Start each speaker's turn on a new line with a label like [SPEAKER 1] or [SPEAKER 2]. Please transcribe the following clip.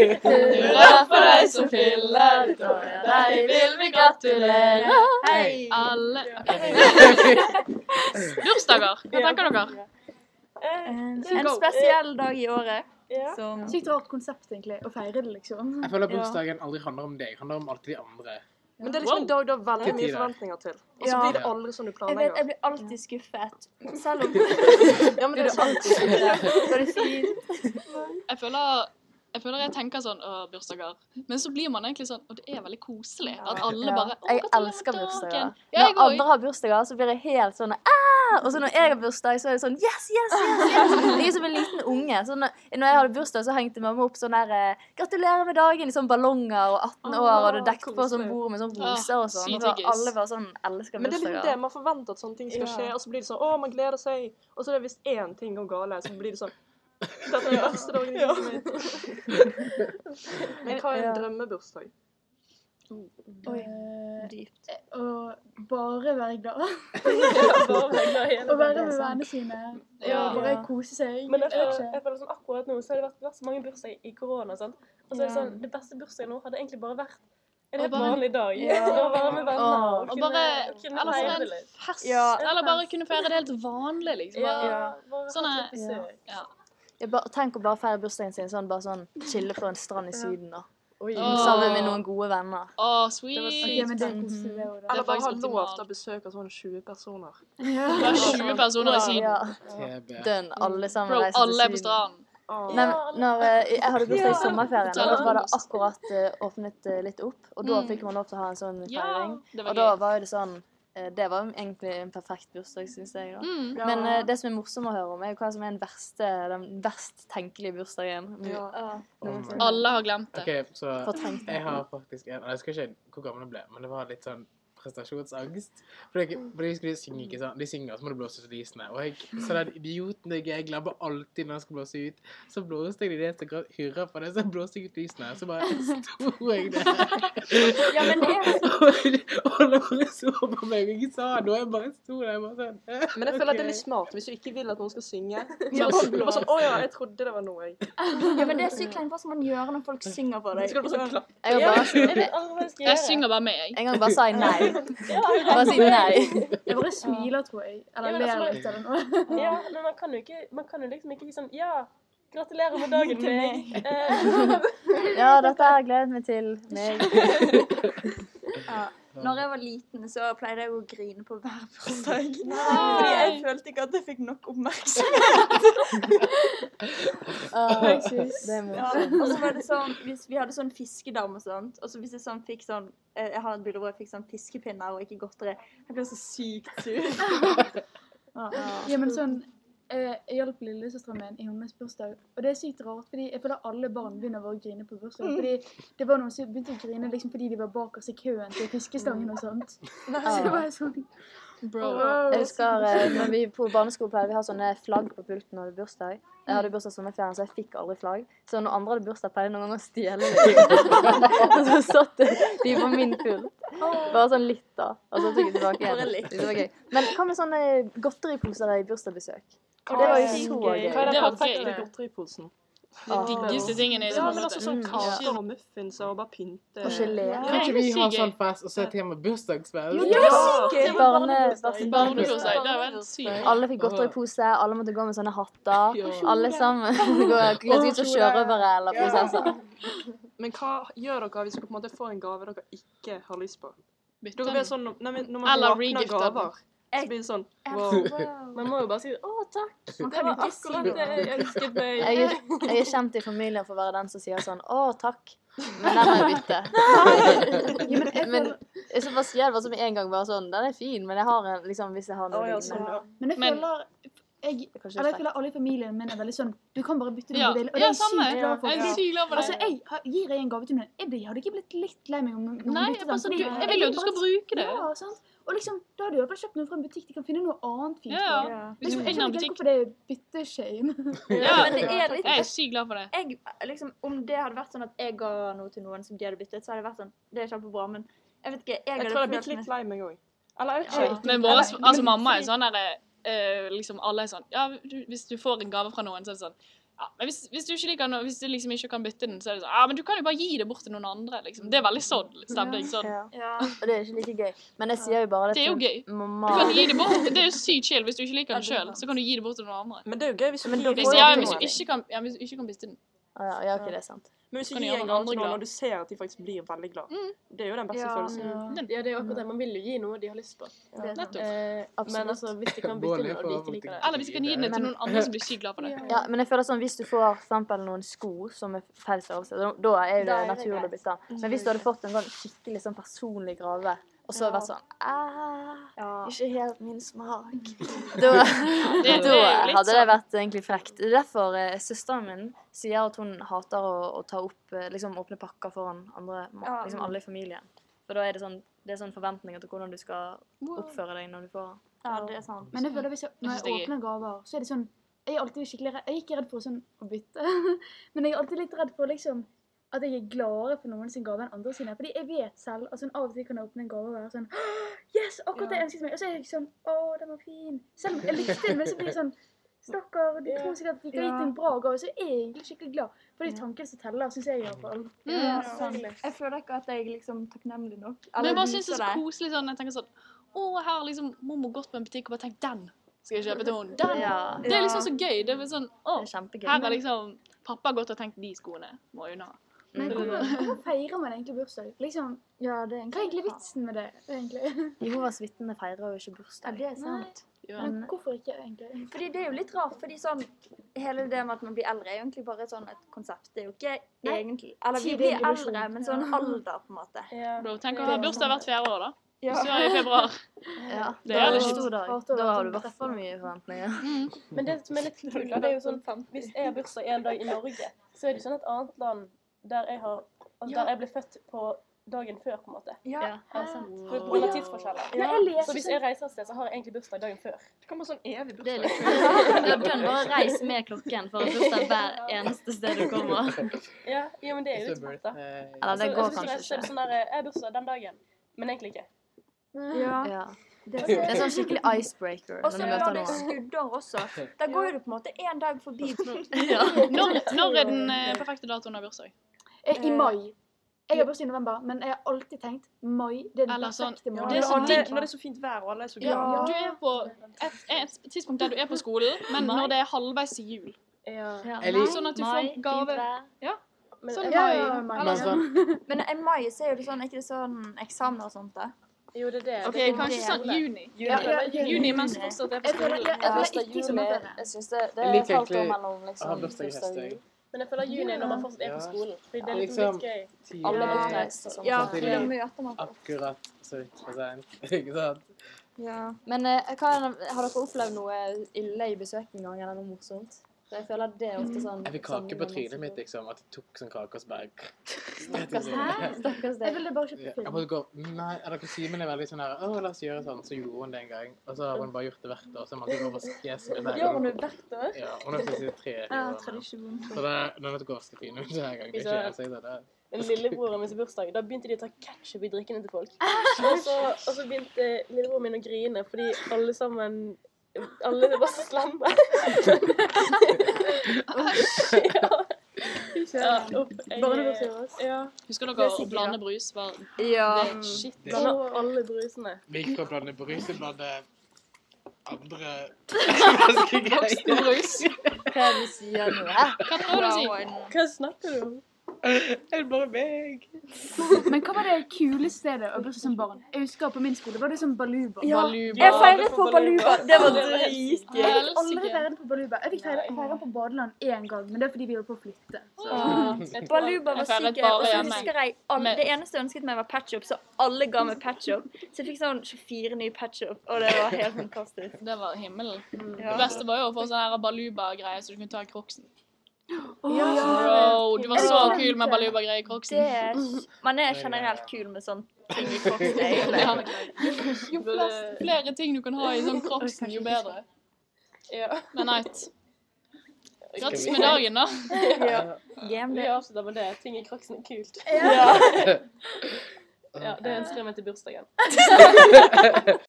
[SPEAKER 1] Hurra for deg som fyller ditt år. Ja, Deg vil vi gratulere.
[SPEAKER 2] Hei!
[SPEAKER 1] Alle Ok. Bursdager. Hva tenker dere?
[SPEAKER 2] En,
[SPEAKER 1] en
[SPEAKER 2] spesiell dag i året.
[SPEAKER 3] Ja.
[SPEAKER 2] Som
[SPEAKER 4] Sykt rart konsept, egentlig, å feire det, liksom.
[SPEAKER 5] Jeg føler bursdagen aldri handler om deg, handler om alt de andre.
[SPEAKER 3] Men det er liksom en dag du har veldig
[SPEAKER 5] Til
[SPEAKER 3] mye
[SPEAKER 5] tider.
[SPEAKER 3] forventninger til. Og så
[SPEAKER 2] Ja.
[SPEAKER 3] blir det aldri som du
[SPEAKER 2] jeg, vet, jeg
[SPEAKER 3] planlegger.
[SPEAKER 2] blir alltid skuffet. Selv om
[SPEAKER 3] Ja, men det er sant.
[SPEAKER 2] Hva du sier.
[SPEAKER 1] Jeg føler jeg føler jeg tenker sånn Å, bursdager. Men så blir man egentlig sånn Og det er veldig koselig at alle
[SPEAKER 6] Ja.
[SPEAKER 1] bare «Å, gratulerer
[SPEAKER 6] Jeg
[SPEAKER 1] med
[SPEAKER 6] elsker
[SPEAKER 1] dagen!»
[SPEAKER 6] bursdager.
[SPEAKER 1] Ja, jeg
[SPEAKER 6] Når
[SPEAKER 1] òg.
[SPEAKER 6] andre har bursdager, så blir jeg helt sånn «Ah!» Og så når jeg har bursdag, så er det sånn Yes, yes, yes! yes. Jeg er som en liten unge. Så når, når jeg hadde bursdag, så hengte mamma opp sånn der eh, Gratulerer med dagen! I sånn ballonger og 18 år, og det dekket på sånn
[SPEAKER 3] koselig.
[SPEAKER 6] bord med sånn
[SPEAKER 1] Ah,
[SPEAKER 6] roser og sånn.
[SPEAKER 1] sykt
[SPEAKER 6] Og så
[SPEAKER 1] diggis.
[SPEAKER 6] alle var sånn Elsker
[SPEAKER 3] Men det er liksom det,
[SPEAKER 6] bursdager.
[SPEAKER 3] man forventer at sånne ting skal
[SPEAKER 2] Ja.
[SPEAKER 3] skje, og så blir det sånn Å, man gleder seg. Og så er det hvis én ting går gale, så blir det sånn Dette er den beste dagen i livet mitt. Men hva er
[SPEAKER 6] Ja.
[SPEAKER 3] en drømmebursdag?
[SPEAKER 4] Oi. Og Eh, bare være glad.
[SPEAKER 7] Og
[SPEAKER 4] Og være med vennene sine.
[SPEAKER 1] Ja.
[SPEAKER 4] Og bare kose seg.
[SPEAKER 7] Men jeg føler,
[SPEAKER 4] Ikke.
[SPEAKER 7] jeg føler sånn akkurat nå så har det vært, vært så mange bursdager i korona. sant? Og så er det
[SPEAKER 6] Ja.
[SPEAKER 7] sånn, det beste bursdagen nå hadde egentlig bare vært
[SPEAKER 1] Og
[SPEAKER 7] en helt
[SPEAKER 1] bare-
[SPEAKER 7] vanlig dag.
[SPEAKER 6] Ja.
[SPEAKER 7] Og være med venner.
[SPEAKER 6] Åh.
[SPEAKER 7] Og
[SPEAKER 1] Og
[SPEAKER 7] kunne,
[SPEAKER 1] bare
[SPEAKER 7] kunne
[SPEAKER 1] Eller
[SPEAKER 7] feire
[SPEAKER 1] sånn
[SPEAKER 7] det
[SPEAKER 1] en
[SPEAKER 7] litt.
[SPEAKER 1] fest.
[SPEAKER 6] Ja.
[SPEAKER 1] Eller bare kunne feire det helt vanlig, liksom.
[SPEAKER 7] Ja,
[SPEAKER 1] Bare,
[SPEAKER 7] bare hatt
[SPEAKER 1] Sånn
[SPEAKER 7] litt
[SPEAKER 6] er-
[SPEAKER 7] besøk.
[SPEAKER 6] Jeg bare- Tenk å bare feire bursdagen sin sånn, bare sånn chille på en strand i Syden, da.
[SPEAKER 3] Oi.
[SPEAKER 1] Åh.
[SPEAKER 6] Sammen med noen gode venner.
[SPEAKER 3] Det
[SPEAKER 1] Å,
[SPEAKER 3] var
[SPEAKER 1] sweet.
[SPEAKER 4] Ok,
[SPEAKER 2] sånn,
[SPEAKER 4] men det er koselig,
[SPEAKER 2] mm.
[SPEAKER 4] det òg, da.
[SPEAKER 3] Eller bare
[SPEAKER 1] faktisk
[SPEAKER 3] ha lov
[SPEAKER 1] optimalt.
[SPEAKER 3] til å besøke sånn 20 personer.
[SPEAKER 1] Det er 20 personer i Syden.
[SPEAKER 6] Ja.
[SPEAKER 5] TB.
[SPEAKER 6] Dønn, alle sammen
[SPEAKER 1] Bro,
[SPEAKER 6] reiser til
[SPEAKER 1] alle er på
[SPEAKER 6] Syden.
[SPEAKER 1] stranden.
[SPEAKER 6] Nei,
[SPEAKER 7] Ja,
[SPEAKER 6] men når eh, jeg hadde bursdag i
[SPEAKER 7] Ja.
[SPEAKER 6] sommerferien, og da
[SPEAKER 1] Fortell.
[SPEAKER 6] var det akkurat eh, åpnet eh, litt opp. Og da
[SPEAKER 1] Mm.
[SPEAKER 6] fikk man lov til å ha en sånn
[SPEAKER 1] Ja,
[SPEAKER 6] feiring.
[SPEAKER 1] det
[SPEAKER 6] Og
[SPEAKER 1] var
[SPEAKER 6] da
[SPEAKER 1] gøy.
[SPEAKER 6] var jo det sånn eh, Det var jo egentlig en perfekt bursdag, syns jeg. da.
[SPEAKER 1] Mm.
[SPEAKER 6] Men eh, det som er morsomt å høre om, er jo hva som er den verste, den verst tenkelige bursdagen.
[SPEAKER 3] Ja.
[SPEAKER 5] Oh my God.
[SPEAKER 1] Alle har glemt det.
[SPEAKER 5] OK, så
[SPEAKER 6] Fortrengt.
[SPEAKER 5] jeg har faktisk en Jeg husker ikke hvor gammel jeg ble, men det var litt sånn prestasjonsangst. For det er ikke- for de skulle synge, ikke sant. De synger, så må du blåse ut lysene. Og jeg, så den idioten jeg er, jeg glemmer alltid når jeg skal blåse ut. Så blåste jeg det ned til hurra for det, så blåste jeg ut lysene. Så bare sto jeg der.
[SPEAKER 2] Ja, men det er
[SPEAKER 5] Og alle bare så på meg og ikke sa noe. Jeg bare sto der jeg bare sånn. eh,
[SPEAKER 3] Men jeg føler at det er
[SPEAKER 5] ok.
[SPEAKER 3] litt smart hvis du ikke vil at noen skal synge.
[SPEAKER 2] Ja.
[SPEAKER 3] Så du bare sånn Å ja, jeg trodde det var noe, jeg.
[SPEAKER 2] ja, men det er sykt kleint hva som man gjør når folk synger for deg.
[SPEAKER 3] Skal du bare sånn klappe?
[SPEAKER 6] Jeg,
[SPEAKER 7] Ja,
[SPEAKER 6] bare,
[SPEAKER 7] det er det andre man skal
[SPEAKER 1] Jeg
[SPEAKER 7] gjøre.
[SPEAKER 1] synger bare med, jeg.
[SPEAKER 6] en gang bare sa jeg nei. Jeg bare sier nei.
[SPEAKER 4] Jeg bare smiler, tror jeg.
[SPEAKER 7] Ja,
[SPEAKER 4] Eller
[SPEAKER 7] men altså,
[SPEAKER 4] ler
[SPEAKER 7] man-
[SPEAKER 4] litt eller noe.
[SPEAKER 7] Ja, men man kan jo ikke, man kan jo liksom ikke si sånn Ja, gratulerer med dagen, meg. Eh,
[SPEAKER 6] Ja, dette har jeg gledet meg til. Meg.
[SPEAKER 2] Ja. Når jeg var liten, så pleide jeg å grine på hver bursdag. Fordi jeg følte ikke at jeg fikk nok oppmerksomhet.
[SPEAKER 6] Åh, det er
[SPEAKER 2] Ja,
[SPEAKER 6] morsomt.
[SPEAKER 2] og så var det sånn, hvis Vi hadde sånn fiskedam og sånt. Og så hvis jeg sånn fikk sånn eh, Jeg har et bilde hvor jeg fikk sånn fiskepinner og ikke godteri. Jeg ble så sykt sur.
[SPEAKER 4] Ja, men sånn, eh, jeg hjalp lillesøsteren min i hennes bursdag, og det er sykt rart, fordi jeg føler alle barn begynner bare å grine på bursdagen.
[SPEAKER 2] Mm.
[SPEAKER 4] Fordi det var noen som begynte å grine liksom fordi de var bak oss i køen til fiskestangen og sånt.
[SPEAKER 2] Mm.
[SPEAKER 4] Så det var sånn
[SPEAKER 1] Bro.
[SPEAKER 4] wow.
[SPEAKER 6] Jeg husker eh, når vi på barneskolen pleide vi å ha sånne flagg på pulten når det er bursdag. Jeg hadde bursdag sommerferien, så jeg fikk aldri flagg. Så når andre hadde bursdag, pleide jeg noen ganger å stjele det. Og så satt det- de på min pult. Bare sånn litt, da. Og så tok jeg tilbake
[SPEAKER 2] Bare
[SPEAKER 6] igjen.
[SPEAKER 2] litt.
[SPEAKER 6] Det var gøy. Men hva med sånne godteriposer i bursdagsbesøk?
[SPEAKER 3] Hva
[SPEAKER 6] Det var jo
[SPEAKER 3] er-
[SPEAKER 6] så
[SPEAKER 3] Hva er
[SPEAKER 6] gøy.
[SPEAKER 1] Det
[SPEAKER 3] den
[SPEAKER 1] var
[SPEAKER 3] perfekte
[SPEAKER 1] gøy.
[SPEAKER 3] godteriposen?
[SPEAKER 1] De
[SPEAKER 6] Ah,
[SPEAKER 1] diggeste tingene i
[SPEAKER 3] Ja, men
[SPEAKER 1] semesteret.
[SPEAKER 3] altså sånn
[SPEAKER 6] Mm,
[SPEAKER 3] kaker
[SPEAKER 1] ja.
[SPEAKER 3] og muffins og bare pynte.
[SPEAKER 6] Og gelé.
[SPEAKER 5] Kan ikke vi
[SPEAKER 1] Nei,
[SPEAKER 5] ha
[SPEAKER 1] det er
[SPEAKER 5] sånn
[SPEAKER 1] sykt
[SPEAKER 5] fest, og så et tema bursdagsfest?
[SPEAKER 2] Jo,
[SPEAKER 3] det var
[SPEAKER 2] sykt gøy.
[SPEAKER 6] Barne-
[SPEAKER 1] Barnebursdag. Det hadde vært sykt.
[SPEAKER 6] Alle fikk godteripose, alle måtte gå med sånne hatter. Alle sammen måtte gå ut som sjørøvere eller prinsesser.
[SPEAKER 3] Men hva gjør dere hvis dere på en måte får en gave dere ikke har lyst på?
[SPEAKER 1] Bytte
[SPEAKER 3] Dere
[SPEAKER 1] den.
[SPEAKER 3] blir sånn, nei, men Når man
[SPEAKER 1] Eller
[SPEAKER 3] åpner
[SPEAKER 1] regifter den.
[SPEAKER 3] gaver, så
[SPEAKER 2] Jeg-
[SPEAKER 3] blir det sånn
[SPEAKER 2] Jeg
[SPEAKER 3] wow.
[SPEAKER 2] var så, wow.
[SPEAKER 7] man må jo bare si Å, takk.
[SPEAKER 2] Man
[SPEAKER 7] Det
[SPEAKER 2] kan jo
[SPEAKER 7] var
[SPEAKER 2] ikke
[SPEAKER 7] akkurat
[SPEAKER 2] si
[SPEAKER 7] det jeg ønsket meg.
[SPEAKER 6] Jeg er, jeg er kjent i familien for å være den som sier sånn Å, takk. Men den må jeg bytte. Men jeg så bare skrev det som en gang bare sånn Den er fin, men jeg har en liksom Hvis jeg har noe
[SPEAKER 3] Å, ja,
[SPEAKER 6] lignende.
[SPEAKER 3] sånn, ja.
[SPEAKER 4] Men jeg
[SPEAKER 1] Men-
[SPEAKER 4] føler jeg,
[SPEAKER 6] Det er kanskje
[SPEAKER 4] eller jeg
[SPEAKER 6] litt
[SPEAKER 4] føler alle i familien min er veldig sånn Du kan bare bytte det
[SPEAKER 1] Ja,
[SPEAKER 4] du vil, og det
[SPEAKER 1] ja
[SPEAKER 4] er jeg
[SPEAKER 1] samme.
[SPEAKER 4] sykt glad
[SPEAKER 1] Jeg
[SPEAKER 4] for.
[SPEAKER 1] er sykt glad for
[SPEAKER 4] Altså,
[SPEAKER 1] det.
[SPEAKER 4] jeg har- gir jeg en gave til min venn, jeg hadde ikke blitt litt lei meg om om hun
[SPEAKER 1] Nei,
[SPEAKER 4] byttet
[SPEAKER 1] jeg,
[SPEAKER 4] den,
[SPEAKER 1] bare, sånn,
[SPEAKER 4] fordi
[SPEAKER 1] du, jeg vil jo at du skal bruke det.
[SPEAKER 4] Ja, sant? Og liksom, da har du i hvert fall kjøpt noe fra en butikk, de kan finne noe annet fint.
[SPEAKER 1] Ja,
[SPEAKER 4] på.
[SPEAKER 1] ja. Hvis du
[SPEAKER 4] Liksom, jeg
[SPEAKER 1] finner en
[SPEAKER 4] skjønner ikke helt
[SPEAKER 1] butikk.
[SPEAKER 4] hvorfor det er bytteshame.
[SPEAKER 1] Ja,
[SPEAKER 2] Men det er litt
[SPEAKER 1] jeg er sykt glad for det.
[SPEAKER 2] jeg, liksom, Om det hadde vært sånn at jeg ga noe til noen som de hadde byttet, så hadde det vært sånn Det er kjempebra, men jeg vet ikke Jeg,
[SPEAKER 3] Jeg
[SPEAKER 2] hadde
[SPEAKER 3] tror jeg hadde blitt
[SPEAKER 2] følt meg-
[SPEAKER 3] litt lei meg òg. Eller jeg vet
[SPEAKER 2] Ja.
[SPEAKER 3] ikke.
[SPEAKER 1] Men våre, altså, mamma er sånn der eh, liksom Alle er sånn Ja, du, hvis du får en gave fra noen, så er det sånn Ja, men hvis, hvis du ikke liker den, og hvis du liksom ikke kan bytte den, så er det sånn Ja, men du kan jo bare gi det bort til noen andre, liksom. Det er veldig sånn stemning. Sånn.
[SPEAKER 6] Ja.
[SPEAKER 4] Ja.
[SPEAKER 6] Og det er ikke like gøy. Men jeg sier jo bare det
[SPEAKER 1] Det er jo
[SPEAKER 6] til
[SPEAKER 1] gøy.
[SPEAKER 6] mamma.
[SPEAKER 1] Du kan gi det bort. Det er jo sykt chill. Hvis du ikke liker
[SPEAKER 3] Ja,
[SPEAKER 1] den
[SPEAKER 3] det er
[SPEAKER 1] sjøl, så kan du gi det bort til noen andre.
[SPEAKER 3] Men det er jo gøy hvis du
[SPEAKER 6] Men
[SPEAKER 3] gir
[SPEAKER 6] da
[SPEAKER 3] det
[SPEAKER 6] får
[SPEAKER 1] Hvis,
[SPEAKER 6] du
[SPEAKER 3] til
[SPEAKER 1] ja,
[SPEAKER 6] det
[SPEAKER 3] noen.
[SPEAKER 1] hvis du
[SPEAKER 6] til
[SPEAKER 1] ikke kan, ja, hvis du ikke kan bytte den.
[SPEAKER 6] Ah, ja, ja, ok, det er sant.
[SPEAKER 3] Men hvis du
[SPEAKER 1] kan
[SPEAKER 3] gir
[SPEAKER 1] gjøre
[SPEAKER 3] en
[SPEAKER 1] noen
[SPEAKER 3] gave
[SPEAKER 1] andre
[SPEAKER 3] til noen,
[SPEAKER 1] glad.
[SPEAKER 3] og du ser at de faktisk blir veldig glad,
[SPEAKER 1] Mm.
[SPEAKER 3] det er jo den beste
[SPEAKER 4] Ja. Mm.
[SPEAKER 3] følelsen.
[SPEAKER 1] Den-
[SPEAKER 7] Ja, det er jo akkurat det. Man vil jo gi noe de har lyst på.
[SPEAKER 4] Det er sant.
[SPEAKER 1] Nettopp.
[SPEAKER 7] Eh,
[SPEAKER 6] Absolutt.
[SPEAKER 7] men altså, hvis de kan bytte
[SPEAKER 5] Bård
[SPEAKER 7] den,
[SPEAKER 5] er
[SPEAKER 7] og de
[SPEAKER 5] for
[SPEAKER 7] ikke liker det
[SPEAKER 1] Eller hvis du kan gi den til noen andre som blir sykt glad for det.
[SPEAKER 6] Ja, men jeg føler sånn, hvis du får for eksempel noen sko som er feil størrelse, da- da er det
[SPEAKER 4] Da er det
[SPEAKER 6] naturlig å
[SPEAKER 4] greit.
[SPEAKER 6] bytte. den. Men hvis du hadde fått en sånn skikkelig sånn personlig grave, og så vært sånn «Ah, Ikke helt min smak. Da,
[SPEAKER 1] Det, det er
[SPEAKER 6] da
[SPEAKER 1] jo litt
[SPEAKER 6] hadde det
[SPEAKER 1] sånn.
[SPEAKER 6] vært egentlig frekt. Det er derfor eh, søsteren min sier at hun hater å, å ta opp eh, liksom åpne pakker foran andre,
[SPEAKER 2] Ja.
[SPEAKER 6] liksom alle i familien. For da er det sånn, det er sånn forventninger til hvordan du skal oppføre deg når du får
[SPEAKER 2] Ja, det er sant.
[SPEAKER 4] Men jeg føler hvis jeg, når
[SPEAKER 1] synes
[SPEAKER 4] jeg
[SPEAKER 1] jeg-
[SPEAKER 4] åpner gaver, så er det sånn Jeg er alltid skikkelig redd Jeg er ikke redd for sånn å bytte, men jeg er alltid litt redd for liksom at jeg er gladere for noen sin gave enn andre sine. Fordi jeg vet selv at sånn, av og til kan jeg åpne en gave og være sånn «Åh, Yes! Akkurat det jeg ønsket meg. Og så er jeg sånn Å, den var fin. Selv om jeg likte den, men så blir jeg sånn Stakkar, de tror sikkert at de har gitt en bra gave. Så er jeg egentlig skikkelig glad. For det er tanken som teller, syns jeg iallfall.
[SPEAKER 2] Ja,
[SPEAKER 1] Mm.
[SPEAKER 4] sånn.
[SPEAKER 2] sant. Jeg føler ikke at jeg liksom takknemlig nok.
[SPEAKER 1] Men jeg bare synes det er
[SPEAKER 2] viser
[SPEAKER 1] så koselig sånn. Jeg tenker sånn Å, her har liksom mormor gått på en butikk og bare tenkt Den skal jeg kjøpe til henne. Den!
[SPEAKER 6] Ja, det
[SPEAKER 1] Det er liksom så gøy. Det er sånn Å,
[SPEAKER 6] er kjempegøy.
[SPEAKER 1] her har liksom pappa gått og tenkt De skoene må hun ha.
[SPEAKER 4] Men
[SPEAKER 6] Mm.
[SPEAKER 4] hvorfor, hvorfor feirer man egentlig bursdag? Liksom,
[SPEAKER 2] Ja, det er
[SPEAKER 4] hva er egentlig vitsen med det? egentlig?
[SPEAKER 6] Jehovas vitner feirer jo ikke
[SPEAKER 2] Ja,
[SPEAKER 6] bursdag.
[SPEAKER 2] det er sant.
[SPEAKER 1] Ja.
[SPEAKER 4] Men hvorfor ikke, egentlig?
[SPEAKER 2] Fordi det er jo litt rart, fordi sånn Hele det med at man blir eldre er jo egentlig bare sånn et konsept. Det er jo ikke
[SPEAKER 4] Nei.
[SPEAKER 2] egentlig Eller vi
[SPEAKER 4] Tidlig
[SPEAKER 2] blir
[SPEAKER 4] evolusjon.
[SPEAKER 2] eldre, men sånn
[SPEAKER 4] Ja.
[SPEAKER 2] alder, på en måte.
[SPEAKER 7] Ja.
[SPEAKER 1] Bro, tenk å ha bursdag hvert fjerde år, da.
[SPEAKER 2] Ja.
[SPEAKER 1] Hvis du har i februar.
[SPEAKER 6] Ja,
[SPEAKER 1] Det er
[SPEAKER 6] da
[SPEAKER 1] litt
[SPEAKER 6] en
[SPEAKER 4] kjipt.
[SPEAKER 6] stor dag.
[SPEAKER 4] Hater å
[SPEAKER 6] Da
[SPEAKER 4] være
[SPEAKER 6] har du
[SPEAKER 4] sånn
[SPEAKER 6] i hvert fall mye forventninger.
[SPEAKER 1] Mm.
[SPEAKER 7] Men det som er litt kult, da, det er jo sånn Hvis jeg har bursdag en dag i Norge, så er det jo sånn et annet land der jeg, har, altså, der jeg ble født på dagen før, på en måte.
[SPEAKER 2] Ja.
[SPEAKER 6] Ja, det er sant.
[SPEAKER 7] For på grunn av tidsforskjeller.
[SPEAKER 4] Ja, jeg leser
[SPEAKER 7] Så hvis jeg reiser et sted, så har jeg egentlig bursdag dagen før.
[SPEAKER 3] Det kan være sånn evig
[SPEAKER 6] Det er
[SPEAKER 3] bursdag.
[SPEAKER 6] litt Du kan bare reise med klokken for at bursdag hver eneste sted du kommer.
[SPEAKER 7] Ja, ja men det er jo litt smart, da.
[SPEAKER 5] Eh,
[SPEAKER 6] Eller det
[SPEAKER 7] Så-
[SPEAKER 6] går
[SPEAKER 7] så hvis du
[SPEAKER 6] kanskje
[SPEAKER 7] reiser, så er det
[SPEAKER 6] ikke.
[SPEAKER 7] sånn der, jeg har bursdag den dagen, men egentlig ikke.
[SPEAKER 2] ja.
[SPEAKER 6] Ja.
[SPEAKER 2] Det
[SPEAKER 6] Det er sånn skikkelig icebreaker
[SPEAKER 2] Og
[SPEAKER 6] når
[SPEAKER 2] så
[SPEAKER 6] du
[SPEAKER 2] er
[SPEAKER 6] møter
[SPEAKER 2] det
[SPEAKER 6] noen.
[SPEAKER 2] skuddår også. Da går jo det på en måte én dag forbi.
[SPEAKER 6] Ja.
[SPEAKER 1] Når, når er den eh, perfekte datoen av bursdag?
[SPEAKER 4] Eh, I mai. Jeg har bursdag i november, men jeg har alltid tenkt mai. Det er den
[SPEAKER 1] Eller sånn,
[SPEAKER 4] perfekte
[SPEAKER 3] Ja,
[SPEAKER 1] det er
[SPEAKER 3] når
[SPEAKER 1] så
[SPEAKER 3] alle-
[SPEAKER 1] digg.
[SPEAKER 3] Når det er så fint vær, og alle er så
[SPEAKER 1] Ja,
[SPEAKER 3] glade.
[SPEAKER 1] du er på et, et tidspunkt der du er på skolen, men når det er halvveis i jul.
[SPEAKER 5] Jeg liker-
[SPEAKER 1] Sånn at du
[SPEAKER 6] Mai,
[SPEAKER 1] får
[SPEAKER 6] fint
[SPEAKER 1] gave.
[SPEAKER 6] vær.
[SPEAKER 7] Men,
[SPEAKER 1] Sånn
[SPEAKER 4] Ja,
[SPEAKER 1] mai.
[SPEAKER 4] ja, mai.
[SPEAKER 5] Men
[SPEAKER 1] Eller sånn.
[SPEAKER 5] sånn,
[SPEAKER 2] Men i mai så er jo det sånn, er ikke det sånn eksamener og sånt, da?
[SPEAKER 7] jo, det er det.
[SPEAKER 1] OK,
[SPEAKER 7] det er
[SPEAKER 1] kanskje sånn juni.
[SPEAKER 4] Ja, ja, ja.
[SPEAKER 1] Juni mens du fortsatt er på
[SPEAKER 4] Jeg føler-
[SPEAKER 1] skolen.
[SPEAKER 4] jeg- jeg føler ikke i sommerferie.
[SPEAKER 6] syns det,
[SPEAKER 5] Jeg liker egentlig
[SPEAKER 6] mellom
[SPEAKER 5] å ha liksom, bursdag i høst, jeg.
[SPEAKER 7] Men jeg føler juni er når man fortsatt er på
[SPEAKER 5] Ja.
[SPEAKER 7] skolen. Fordi det
[SPEAKER 5] Ja,
[SPEAKER 7] er liksom
[SPEAKER 5] liksom-
[SPEAKER 7] litt gøy.
[SPEAKER 6] Alle
[SPEAKER 5] Tidlig.
[SPEAKER 6] bortreist og sånn.
[SPEAKER 2] Ja,
[SPEAKER 5] for
[SPEAKER 2] for
[SPEAKER 5] det
[SPEAKER 2] da
[SPEAKER 5] er-
[SPEAKER 2] møter man folk.
[SPEAKER 5] Akkurat så vidt for sent. Ikke sant?
[SPEAKER 2] Ja.
[SPEAKER 6] Men eh, hva, er det- har dere opplevd noe ille i besøk en gang, eller noe morsomt? For Jeg føler at det er ofte sånn
[SPEAKER 5] Jeg fikk kake på trynet mitt, liksom. At jeg tok sånn kake og så bare
[SPEAKER 6] Stakkars deg. Stakkars
[SPEAKER 4] Jeg
[SPEAKER 6] deg.
[SPEAKER 4] ville bare kjøpt
[SPEAKER 5] Jeg
[SPEAKER 4] film.
[SPEAKER 5] måtte gå Nei, eller Simen er veldig sånn her Å, la oss gjøre sånn. Så gjorde hun det en gang. Og så har hun bare gjort det hvert år. Så måtte jeg gå over fjeset mitt hver
[SPEAKER 7] Gjør hun
[SPEAKER 5] gang.
[SPEAKER 7] det hvert år?
[SPEAKER 5] Ja, hun har faktisk tre år. nå.
[SPEAKER 2] tradisjon.
[SPEAKER 5] Så det er nødt til å gå over trynet mitt hver gang. Det skjer. Så jeg sa det.
[SPEAKER 7] Men Lillebroren min sin bursdag, da begynte de å ta ketsjup i drikkene til
[SPEAKER 3] Ah,
[SPEAKER 7] folk. Og så, og så begynte lillebroren min å grine fordi alle sammen alle var så slemme.
[SPEAKER 3] Ah,
[SPEAKER 7] ja. ja, uff, jeg-
[SPEAKER 4] Barnebursdag hos oss.
[SPEAKER 7] Ja.
[SPEAKER 1] Husker dere å blande brus? Var
[SPEAKER 2] Ja.
[SPEAKER 1] det shit?
[SPEAKER 7] Blander alle brusene.
[SPEAKER 5] Vi gikk fra å blande brus til å blande andre
[SPEAKER 1] Voksenbrus?
[SPEAKER 6] Hva er det du sier nå? Hæ?
[SPEAKER 1] Hva prøver du å si?
[SPEAKER 7] Hva snakker du om?
[SPEAKER 5] Er det bare meg?
[SPEAKER 4] Men hva var det kuleste stedet å bursdag som barn? Jeg husker på min skole var det sånn baluba.
[SPEAKER 2] Ja.
[SPEAKER 1] Baluba.
[SPEAKER 2] Jeg feiret på Baluba. Det var
[SPEAKER 7] Det var helt
[SPEAKER 2] dritgøy.
[SPEAKER 4] Jeg fikk aldri
[SPEAKER 1] Helsike.
[SPEAKER 4] feire den på baluba. Jeg fikk feire, feire på badeland én gang, men det er fordi vi holdt på å flytte. Så.
[SPEAKER 7] Jeg tror-
[SPEAKER 2] Baluba var
[SPEAKER 1] Jeg feiret
[SPEAKER 2] syk,
[SPEAKER 1] bare
[SPEAKER 2] og så
[SPEAKER 1] hjemme.
[SPEAKER 2] husker jeg alle,
[SPEAKER 1] Men-
[SPEAKER 2] Det eneste jeg ønsket meg, var patch-up, så alle ga meg patch-up. Så jeg fikk sånn 24 nye patch-up, og det var helt fantastisk.
[SPEAKER 1] Det var himmelen. Det
[SPEAKER 2] Ja.
[SPEAKER 1] beste var jo å få sånn her baluba-greie så du kunne ta i crocsen.
[SPEAKER 2] Ja.
[SPEAKER 1] Bro, du var så
[SPEAKER 2] Ja.
[SPEAKER 1] kul med baluba-greie i crocsen.
[SPEAKER 2] Det er, man er generelt kul med sånn ting i korset, egentlig.
[SPEAKER 1] Ja. Jo flest- flere ting du kan ha i sånn kroppsen, jo bedre.
[SPEAKER 7] Ja.
[SPEAKER 1] Men neit. Grattis med dagen, da.
[SPEAKER 7] Vi
[SPEAKER 2] GMD.
[SPEAKER 7] avslutter med det. Ting i kraksen er kult. Ja, det ønsker jeg meg til bursdagen.